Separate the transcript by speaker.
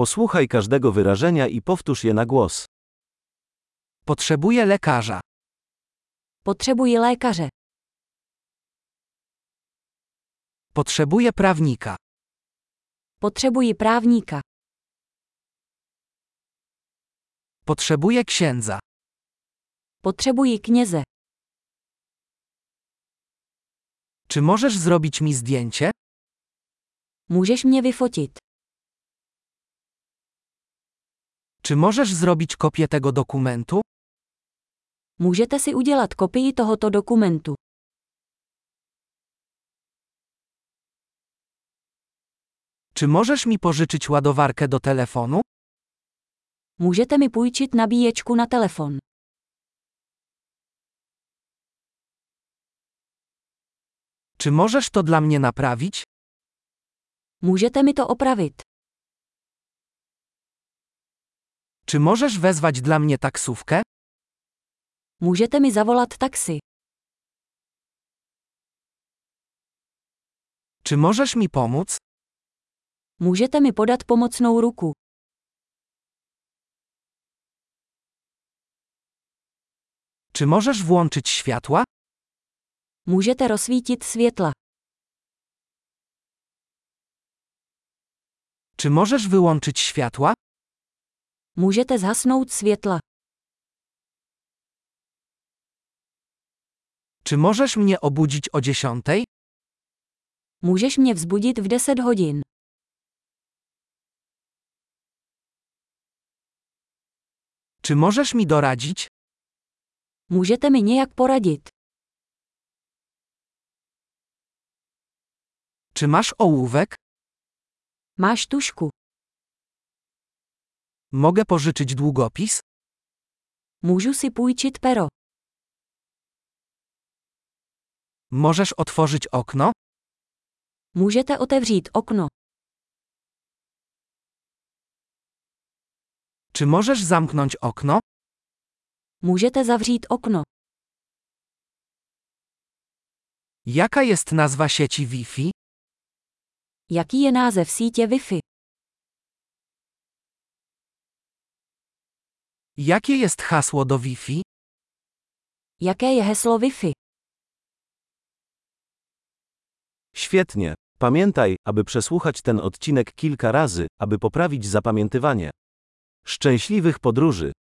Speaker 1: Posłuchaj każdego wyrażenia i powtórz je na głos.
Speaker 2: Potrzebuję lekarza.
Speaker 3: Potrzebuję lekarzy.
Speaker 2: Potrzebuję prawnika.
Speaker 3: Potrzebuję prawnika.
Speaker 2: Potrzebuję księdza.
Speaker 3: Potrzebuję knieza.
Speaker 2: Czy możesz zrobić mi zdjęcie?
Speaker 3: Můžeš mě vyfotit.
Speaker 2: Czy możesz zrobić kopię tego dokumentu?
Speaker 3: Můžete si udělat kopii tohoto dokumentu.
Speaker 2: Czy możesz mi pożyczyć ładowarkę do telefonu?
Speaker 3: Můžete mi půjčit nabíječku na telefon.
Speaker 2: Czy możesz to dla mnie naprawić?
Speaker 3: Můžete mi to opravit.
Speaker 2: Czy możesz wezwać dla mnie taksówkę?
Speaker 3: Můžete mi zavolat taxi.
Speaker 2: Czy możesz mi pomóc?
Speaker 3: Můžete mi podat pomocnou ruku.
Speaker 2: Czy możesz włączyć światła?
Speaker 3: Můžete rozsvítit světla.
Speaker 2: Czy możesz wyłączyć światła?
Speaker 3: Můžete zhasnout světla.
Speaker 2: Czy możesz mnie obudzić o dziesiątej?
Speaker 3: Můžeš mě vzbudit v 10 hodin.
Speaker 2: Czy możesz mi doradzić?
Speaker 3: Můžete mi nějak poradit.
Speaker 2: Czy masz ołówek?
Speaker 3: Máš tušku.
Speaker 2: Mogę pożyczyć długopis?
Speaker 3: Můžu si půjčit pero.
Speaker 2: Możesz otworzyć okno?
Speaker 3: Můžete otevřít okno.
Speaker 2: Czy możesz zamknąć okno?
Speaker 3: Můžete zavřít okno.
Speaker 2: Jaka jest nazwa sieci Wi-Fi?
Speaker 3: Jaký je název sítě Wi-Fi?
Speaker 2: Jakie jest hasło do Wi-Fi?
Speaker 3: Jaké je heslo Wi-Fi?
Speaker 1: Świetnie. Pamiętaj, aby przesłuchać ten odcinek kilka razy, aby poprawić zapamiętywanie. Szczęśliwych podróży!